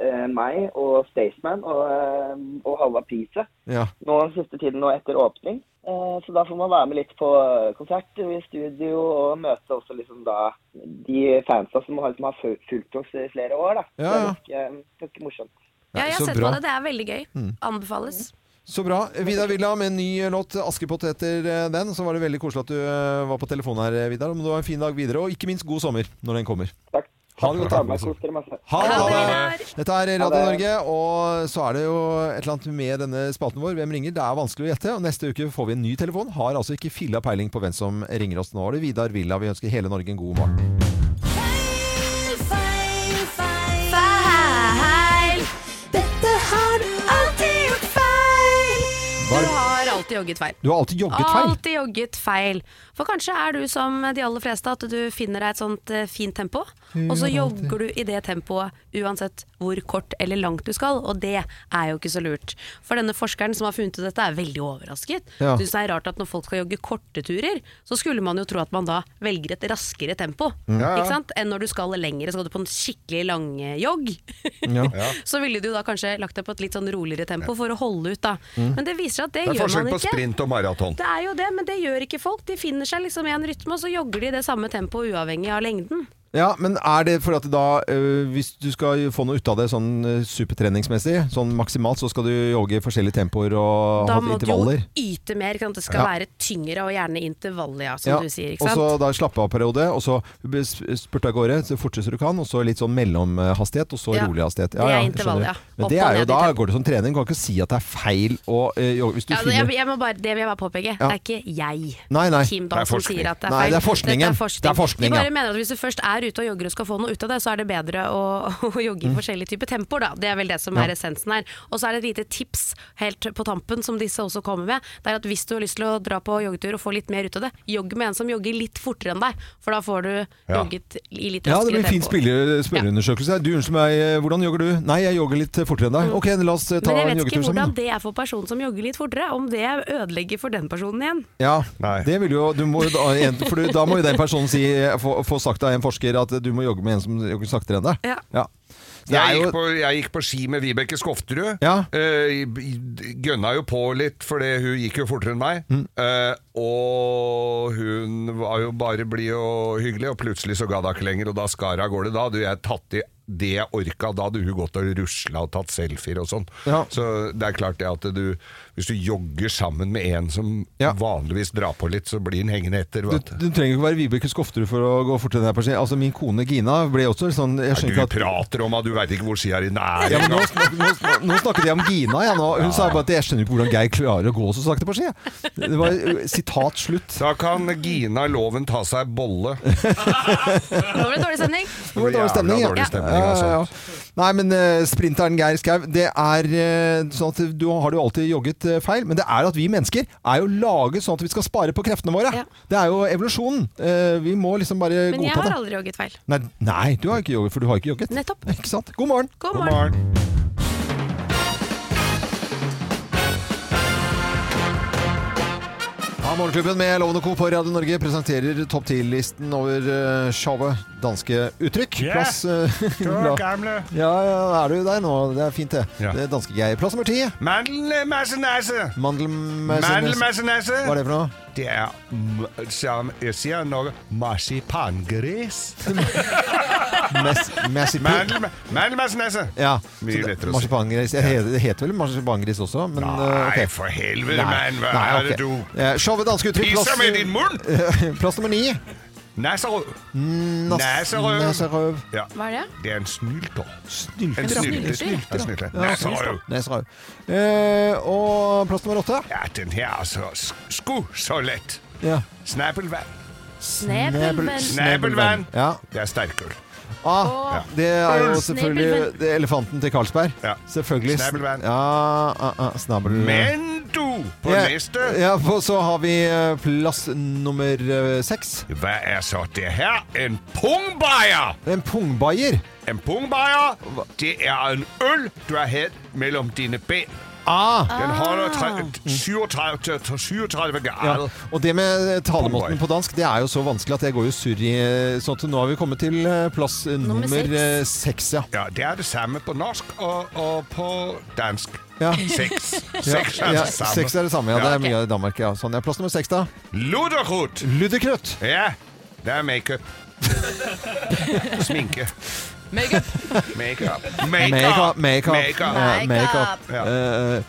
S7: eh, meg og Staysman og, uh, og Halva Pisa
S1: Ja.
S7: nå den siste tiden nå etter åpning. Eh, Så da får man være med litt på konserter og i studio og møte også liksom da de fansa som har, som har ful- fulgt oss i flere år. da.
S1: Ja, ja.
S7: Det er ganske, ganske morsomt.
S3: Ja,
S1: så
S3: jeg har sett
S1: bra. Mm.
S3: på det. Det er veldig gøy. Anbefales.
S1: Så bra. Vidar Villa med en ny låt. 'Askepott' heter eh, den. Så var det veldig koselig at du eh, var på telefonen her, eh, Vidar. Men du har en fin dag videre, og ikke minst god sommer når den kommer.
S7: Takk. altså.
S1: Ha det godt,
S7: Ta
S1: da.
S7: med deg, kos dere masse.
S1: Ha det!
S3: Ha det,
S1: Ha
S3: Vidar.
S1: det. Dette er Radio
S7: Ha det.
S1: Norge, og så er det jo et eller annet med denne spalten vår. Hvem ringer? Det er vanskelig å gjette. Og neste uke får vi en ny telefon. Har altså ikke filla peiling på hvem som ringer oss nå. Er det Vidar Villa. Vi ønsker hele Norge en god morgen.
S6: Feil, feil, feil. Feil. Dette har du alltid gjort feil.
S3: Du har alltid jogget feil.
S1: Du har alltid jogget feil.
S3: Alltid jogget feil. For kanskje er du som de aller fleste, at du finner deg et sånt eh, fint tempo, og så jogger du i det tempoet uansett hvor kort eller langt du skal, og det er jo ikke så lurt. For denne forskeren som har funnet ut dette, er veldig overrasket.
S1: Ja.
S3: Syns det er rart at når folk skal jogge korte turer, så skulle man jo tro at man da velger et raskere tempo, ikke sant? Enn når du skal lengre, skal du på en skikkelig lang eh, jogg. Så ville du da kanskje lagt deg på et litt sånn roligere tempo for å holde ut, da. Men det viser seg at
S2: Det
S3: det,
S2: er
S3: gjør
S2: forskjell
S3: man
S2: på
S3: ikke.
S2: sprint og maraton.
S3: Det er jo det, men det gjør ikke folk. De finner seg liksom i en rytme, og så jogger de i det samme tempoet uavhengig av lengden.
S1: Ja, men er det for at da øh, Hvis du skal få noe ut av det sånn øh, supertreningsmessig, sånn maksimalt, så skal du jogge i forskjellige tempoer og
S3: Da
S1: ha
S3: må du jo
S1: intervaller?
S3: yte mer. ikke sant? Det skal
S1: Ja.
S3: være tyngre, og gjerne intervaller, ja, som
S1: Ja,
S3: du sier. ikke
S1: og
S3: sant?
S1: så da slappe av-periode, og så b- s- spurte av gårde så fortest du kan, og så litt sånn mellomhastighet, og så
S3: Ja.
S1: rolig hastighet.
S3: Det er
S1: jeg
S3: intervall,
S1: skjønner.
S3: ja.
S1: Men
S3: Opp
S1: det
S3: og
S1: er jo,
S3: ned i
S1: da
S3: tempo.
S1: går det som trening. Du kan ikke si at det er feil å øh, jogge hvis du
S3: Ja, jeg,
S1: finner
S3: jeg må bare, det vil jeg bare påpeke. Det er ikke jeg,
S1: Nei, nei.
S3: Kim
S2: Det er
S3: Dahl, som
S2: forskning.
S3: sier at det er
S1: Nei,
S3: feil.
S1: det er forskningen.
S3: Dette
S1: Det er forskning,
S3: Vi bare
S1: ja.
S3: mener at hvis du først er ute og jogger og skal få noe ut av det, så er det bedre å, å jogge
S1: Mm.
S3: i forskjellige typer tempoer, da. Det er vel det som er essensen her. Og så er det et lite tips helt på tampen som disse også kommer med. Det er at hvis du har lyst til å dra på joggetur og få litt mer ut av det, jogg med en som jogger litt fortere enn deg, for da får du
S2: Ja.
S3: jogget i litt
S1: Ja, det blir
S3: raskere
S1: en fin
S3: tempo.
S1: spille- spørreundersøkelse. Du, unnskyld meg, øh, hvordan jogger du? Nei, jeg jogger litt fortere enn deg. Ok, la oss øh, ta
S3: Mm. Men jeg
S1: en
S3: vet ikke
S1: joggetur sammen.
S3: hvordan
S1: da.
S3: det er for personen som jogger litt fortere, om det ødelegger for den personen igjen.
S1: Ja,
S2: Nei.
S1: det vil jo, du må, jo da- en- for du, da må jo den personen si, eh, få, få sagt av en forsker at du må jogge med en som jogger saktere enn deg.
S3: Ja.
S1: Det er
S2: Jeg
S1: jo,
S2: gikk, på, jeg gikk på ski med Vibeke Skofterud.
S1: Ja.
S2: Eh, i- gønna jo på litt, for hun gikk jo fortere enn meg.
S1: Mm.
S2: Eh, og hun var jo bare blid og hyggelig, og plutselig så ga hun ikke lenger, og da skar hun av gårde. Da hadde jeg tatt i det orka, da hadde hun gått og rusla og tatt selfier og sånn.
S1: Ja.
S2: Så det er klart det at du, hvis du jogger sammen med en som
S1: Ja.
S2: vanligvis drar på litt, så blir han hengende etter.
S1: Du,
S2: Vet. du.
S1: du trenger ikke være Vibeke Skofterud for å gå fortere der på ski. Altså, min kone Gina ble også sånn jeg
S2: Du
S1: skjønner ikke at-
S2: prater om at du veit ikke hvor skia dine er.
S1: Ja, men nå,
S2: engang.
S1: nå, nå, nå snakket jeg om Gina. Jeg, nå. Hun sa bare at jeg skjønner ikke hvordan Geir klarer å gå så sakte på ski. Det var uh, sitat slutt.
S2: Da kan Gina Loven ta seg bolle.
S9: Nå ble det dårlig stemning.
S1: Det var dårlig stemning,
S2: Jævla dårlig stemning, altså.
S1: Ja, ja, ja. Nei, men eh, sprinteren Geir Skau, det er eh, sånn at du har jo alltid jogget eh, feil, men det er at vi mennesker er jo laget sånn at vi skal spare på kreftene våre.
S3: Ja.
S1: Det er jo evolusjonen. Eh, vi må liksom bare
S3: Men jeg
S1: godta
S3: har
S1: det.
S3: aldri jogget feil.
S1: Nei, nei, du har ikke jogget, for du har ikke jogget.
S3: Nettopp.
S1: Ikke sant? God morgen.
S3: God
S2: God
S3: morgen.
S2: morgen.
S1: Ja, Morgenklubben med Lovende Co. på Radio Norge presenterer topp 10-listen over eh, showet Danske uttrykk.
S2: Yeah.
S1: Plass eh, bra. Ja, ja, er du der nå? Det er fint, det.
S2: Ja.
S1: Det er danske greier. Plass nummer ti.
S2: Mandelmassenæse!
S1: Mandelmessenes.
S2: Mandelmassenæse!
S1: Hva er det for noe?
S2: Det er mm, som jeg sier noe marsipangris.
S1: Mes, messipi-
S2: Mandel- Mandelmassenæse!
S1: ja. så
S2: Mye
S1: det-
S2: lettere å si.
S1: Marsipangris. Det heter- det heter vel marsipangris også, men eh, ok.
S2: Nei, for helvete, mann! Hva
S1: nei,
S2: er det
S1: ok.
S2: du
S1: Eh, Showet danske uttrykk.
S2: Pissa med din
S1: Plass,
S2: munn!
S1: plass nummer ni.
S2: Neserød.
S1: Nas-
S2: Neserøv.
S1: Neserøv.
S2: Ja.
S9: Hva er det?
S2: Det er en snylter.
S1: Snylte.
S2: En
S9: Snylter.
S2: snylter. snylter, snylter.
S1: Ja,
S2: Neserøv.
S1: Neserøv. Eh, og plass nummer åtte.
S2: Ja, den her er så sk- sku så lett.
S1: Ja.
S2: Snappelvann.
S9: Snebelvenn.
S2: Snabelvann.
S1: Ja.
S2: Det er sterkøl.
S1: Ah,
S2: Ja.
S1: det er jo
S9: Snabelvenn.
S1: selvfølgelig det er elefanten til Carlsberg.
S2: Ja.
S1: Selvfølgelig. sn-
S2: Snabelvenn.
S1: Ja, ah, ah, snabel...
S2: Men du, på
S1: Ja,
S2: neste
S1: Ja, for så har vi eh, plass nummer eh, seks.
S2: Hva er så det her? En pungbajer!
S1: En pungbayer.
S2: En pungbajer, det er en øl, du har hatt mellom dine ben.
S1: Ah.
S2: Den holder tre- 37 til- til 37
S1: Ja.
S2: grader.
S1: Og det med talemåten
S2: Pungbayer.
S1: på dansk, det er jo så vanskelig at jeg går jo surr i eh, Sånn at nå har vi kommet til eh, plass eh,
S9: Nummer
S1: nummer
S9: seks.
S1: eh, seks, ja.
S2: Ja, det er det samme på norsk og, og på dansk.
S1: ja.
S2: Seks.
S1: Ja,
S2: Seks er
S1: ja,
S2: det samme.
S1: seks er det samme. Ja,
S2: Ja,
S1: det er mye av Danmark. Ja. Sånn, ja. Plass nummer seks, da.
S2: Luderkrutt!
S1: Luddekrøtt.
S2: Ja, det er makeup. Sminke.
S9: Makeup.
S2: Makeup.
S1: Makeup. Makeup.
S2: Makeup.
S1: Ja,
S9: Makeup.
S1: makeup. Eh,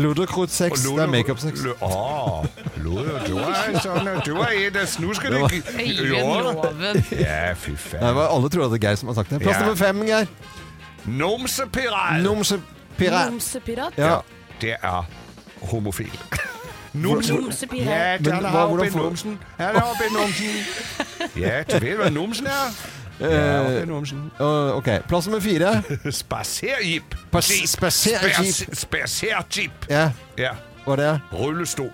S1: Ludderkrutt
S2: Og
S1: 6. Det
S2: Luder-
S1: er makeup-sex.
S2: Lu- Åh, Luder, du er sånn Du er i det snuskede Jo.
S9: Øyenloven.
S2: Ja, fy
S1: Nei,
S2: faen.
S1: hva- Alle tror at det er Geir som har sagt det. Plass
S2: Ja.
S1: nummer fem, Geir.
S2: Nomsepirat!
S1: Nomsepirat.
S9: Homsepirat.
S1: Ja.
S2: Det er homofil. Numsen. Ja,
S1: Men
S2: den er
S1: hva-
S2: oppe
S1: hvordan
S2: i
S1: får-
S2: numsen. Han er oppe i numsen. Ja, du vet hva numsen er? Ja, oppe i numsen.
S1: Øh, ok. Plass nummer fire.
S2: Spaserjeep.
S1: Pas- spaserjeep.
S2: Spas- Spaserjeep.
S1: Ja,
S2: Ja.
S1: hva er det?
S2: Rullestol.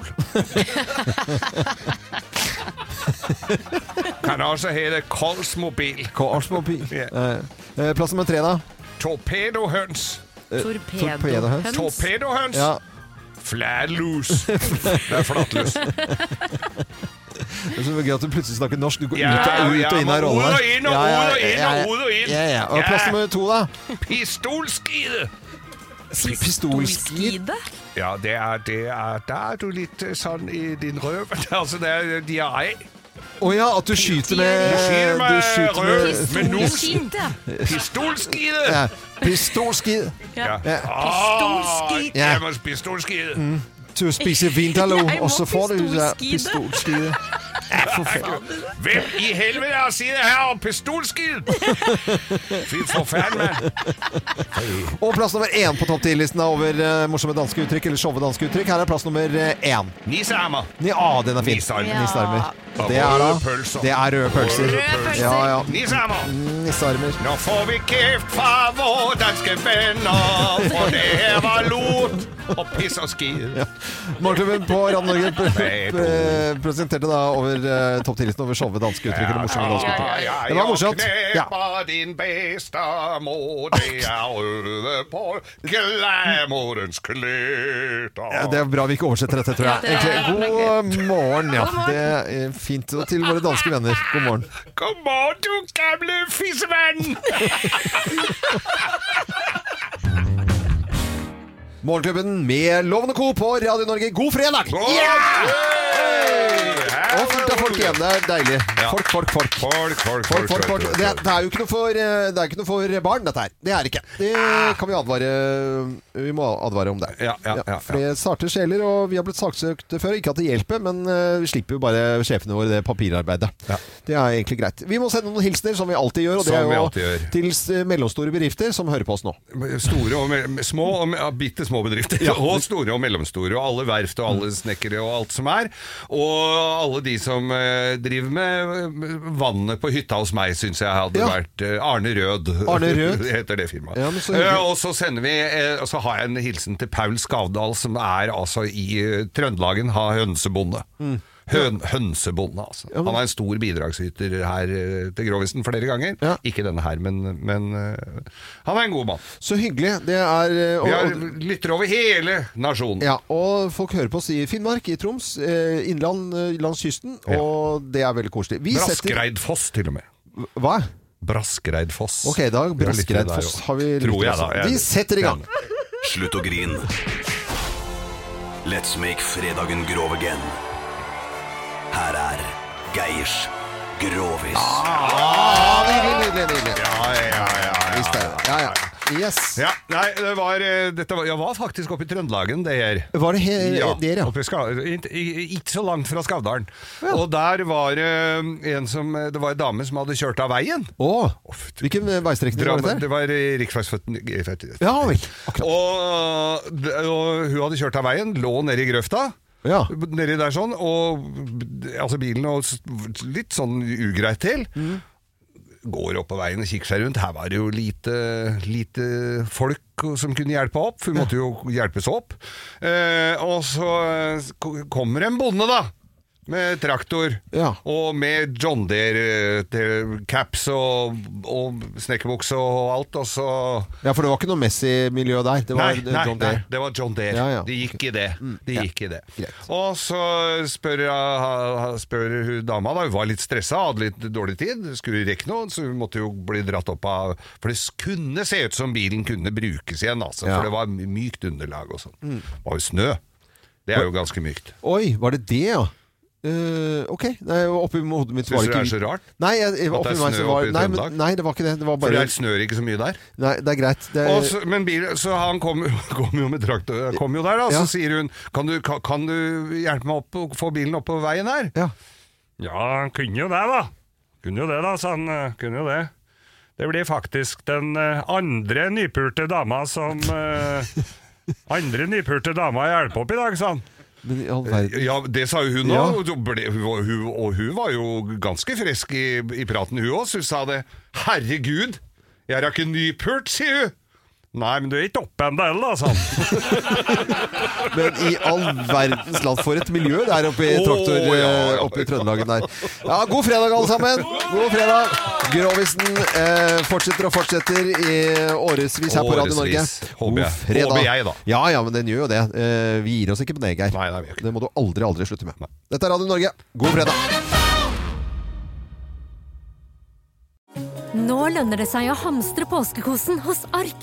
S2: kan også hete Kolsmobil.
S1: Korsmobil.
S2: Ja.
S1: Eh, eh, plass nummer tre, da.
S2: Torpedohøns.
S1: torpedohøns.
S9: Torpedohøns.
S2: Torpedohøns.
S1: Ja,
S2: Flatlus. Det er flatlus.
S1: Det er så gøy at du plutselig snakker norsk. Du går
S2: Ja,
S1: ut, og, ut og inn av
S2: ja,
S1: rollen
S2: ut
S1: her.
S2: og inn, og
S1: Ja, ja,
S2: ut og inn,
S1: ja, ja.
S2: og ut og inn.
S1: Ja, ja. Og
S2: Ja.
S1: plass nummer to, da.
S2: Pistolskide.
S1: Pistolskid.
S2: Ja, det er, det er, da er du litt eh, sånn i din røv. Altså, det er diaré.
S1: Å ja, at du skyter med
S2: Du skyter med
S1: Eh, du skyter
S2: røv, med nosen.
S9: Skite.
S2: Pistolskide.
S1: Ja, Pistolskid.
S2: Ja. Ah,
S1: Ja.
S2: Pistolskide.
S1: Ja.
S2: Ja, men pistolskide.
S1: Du spiser vindaloo,
S9: Jeg må
S1: og så får du ja,
S9: pistolskide.
S1: pistolskide. Ja, forferdelig.
S2: Hvem i helvete har sittet her og pistolskid? Fy forferdelig, mann.
S1: Og plass nummer én på topp 10-listen er over eh, morsomme danske uttrykk. Eller sjove danske uttrykk. Her er plass nummer eh, én.
S2: Nissehammer.
S1: Ja, den er fin.
S2: Nissearmer.
S1: Nissearmer.
S2: Og
S1: Det er da
S2: røde pølser.
S1: Det er røde pølser.
S2: Røde
S9: pølser.
S1: Ja, ja.
S2: Nissehammer.
S1: Nissearmer.
S2: Nå får vi kjeft fra våre danske venner, for det her var lot og piss og skid.
S1: Morgenklubben på Radio Norge pre
S2: Nei, på-
S1: pre presenterte da over eh, topp 10-listen over sjove danske uttrykk. Eller morsomme danske uttrykk. altså. Det var morsomt.
S2: Jeg
S1: Ja.
S2: knepper din bestemor, det er røde på glemorens kløter.
S1: Ja, Det er bra vi ikke oversetter dette, tror
S9: Ja,
S1: jeg.
S9: det er-
S1: Egentlig. God morgen, ja. Det er fint. Og til våre danske venner, god morgen.
S2: God morgen, du gamle fissevenn!
S1: Morgenklubben med Lovende Co. på Radio Norge, god fredag!
S2: Hei!
S1: Og fullt av folk igjen. Det er deilig. Folk, folk, folk.
S2: Folk, folk,
S1: Folk, folk, folk.
S2: folk.
S1: Det, det er jo ikke noe, for, eh, det er ikke noe for barn, dette her. Det er det ikke. Det
S2: Ah.
S1: kan vi advare Vi må advare om det. Ja, for det starter sjeler, og vi har blitt saksøkt før. Ikke at det hjelper, men eh, vi slipper jo bare sjefene våre det papirarbeidet. Det er egentlig greit. Vi må sende noen hilsener, som vi alltid gjør. Og det
S2: Som vi
S1: er
S2: alltid
S1: jo
S2: gjør.
S1: til s- eh, mellomstore bedrifter som hører på oss nå.
S2: Store og me- små og me- ja, bitte små bedrifter. Og store og mellomstore, og alle verft og alle snekkere og alt som er. Og alle de som eh, driver med eh, vannet på hytta hos meg, syns jeg hadde
S1: Ja.
S2: vært eh, Arne Rød.
S1: Arne Rød.
S2: heter det firmaet.
S1: Ja, men så hyggelig.
S2: Eh, og så sender vi eh, Og så har jeg en hilsen til Paul Skavdal, som er altså i eh, Trøndelagen, har hønsebonde.
S1: Mm.
S2: Høn, hønsebonde, altså.
S1: Ja, men-
S2: Han er en stor bidragsyter her eh, til Grovisen flere ganger. Ikke denne her, men, men eh, han er en god mann.
S1: Så hyggelig. Det er eh, og-
S2: Vi har lytter over hele nasjonen.
S1: Ja, og folk hører på oss i Finnmark, i Troms, eh, innland eh, langs kysten,
S2: Ja.
S1: og det er veldig koselig. Vi setter-
S2: Braskreidfoss, til og med.
S1: Hva?
S2: Braskreidfoss.
S1: Ok, i dag
S2: Vi har lyttere der
S1: Braskreidfoss
S2: også.
S1: har vi
S2: Tror
S1: lyttere
S2: jeg, da.
S1: også.
S2: Jeg-
S1: Vi setter i gang.
S10: Slutt å grine. Let's make fredagen grov again. Her er Geirs Grovis.
S1: Ah, nydelig, nydelig, nydelig.
S2: Ja, ja, ja.
S1: Visst er det. Ja, ja. Yes.
S2: Ja, nei, det var, eh, dette var, jeg var faktisk oppe i Trøndelagen, det her.
S1: Var Eh, det he-
S2: ja,
S1: der, ja?
S2: oppe i Ska- ikke- Ikke så langt fra Skavdalen. Og der var det en som eh, Det var en dame som hadde kjørt av veien.
S1: Å, hvilken eh, veistrekning var
S2: Dram-
S1: dette?
S2: Det var eh, riksveisføtten
S1: Ja vel.
S2: Og, d- og hun hadde kjørt av veien, lå nede i grøfta. Nedi der sånn, og b- altså bilen og s- litt sånn ugreit til. Går opp på veien og kikker seg rundt. Her var det jo lite, lite folk som kunne hjelpe opp, for hun måtte jo hjelpes opp. Eh, og så eh, ko- kommer en bonde, da. Med traktor, og med John Deere-caps og, og snekkerbukse og alt, og så
S1: Ja, for det var ikke noe Messi-miljø der. Det var
S2: nei,
S1: eh,
S2: nei,
S1: John
S2: nei,
S1: Deere.
S2: det var John Dare.
S1: Ja, ja.
S2: De gikk i det. De
S1: ja.
S2: gikk i det. Og så spør, jeg- spør hun dama, da, hun var litt stressa, hadde litt dårlig tid, skulle rekke noe, så hun måtte jo bli dratt opp av For det kunne se ut som bilen kunne brukes igjen, altså,
S1: Ja.
S2: for det var mykt underlag og sånn.
S1: Mm.
S2: Det var jo snø. Det er jo ganske mykt.
S1: Oi, var det det, ja? Eh, ok, nei, oppi hodet mitt var
S2: Syns
S1: det
S2: du
S1: ikke
S2: det er så rart?
S1: Nei, jeg, jeg,
S2: At det er
S1: oppi meg så
S2: snø
S1: var,
S2: oppe i
S1: nei, men,
S2: Trøndelag?
S1: nei, det var ikke det. Det Eh. var
S2: For
S1: bare
S2: det snør ikke så mye der.
S1: Nei, det er greit. Det,
S2: Og så, men bil, så han kom, kom jo med traktor kom jo der, da.
S1: Ja.
S2: Så sier hun kan du, kan, kan du hjelpe meg opp og få bilen opp på veien her?
S1: Ja.
S2: han kunne jo det, da. Kunne jo det, da, sa han. eh, Kunne jo det. Det blir faktisk den eh, andre nypulte dama som eh, Andre nypulte dama jeg hjelper opp i dag, sa han.
S1: men i all verden
S2: Ja, det sa jo hun
S1: Ja.
S2: òg, og, hun- og hun var jo ganske frisk i, i praten, hun òg. Hun sa det. 'Herregud, jeg rakk en ny pult', sier hun. Nei, men du er ikke oppe ennå, heller, da, sa han.
S1: Men i all verdens land, for et miljø det er oppe i
S2: Å,
S1: traktor
S2: ja, ja,
S1: eh, oppe i Trøndelagen der. Ja, god fredag, alle sammen! God fredag! Grovisen eh, fortsetter og fortsetter i årevis her på Radio Norge.
S2: Årevis, håper jeg.
S1: God fredag.
S2: Håper jeg, da.
S1: Ja, ja, men den gjør jo det. Eh, vi gir oss ikke på det, Geir. Det må du aldri, aldri slutte med. Dette er Radio Norge. God fredag!
S11: Nå lønner det seg å hamstre påskekosen hos Ark.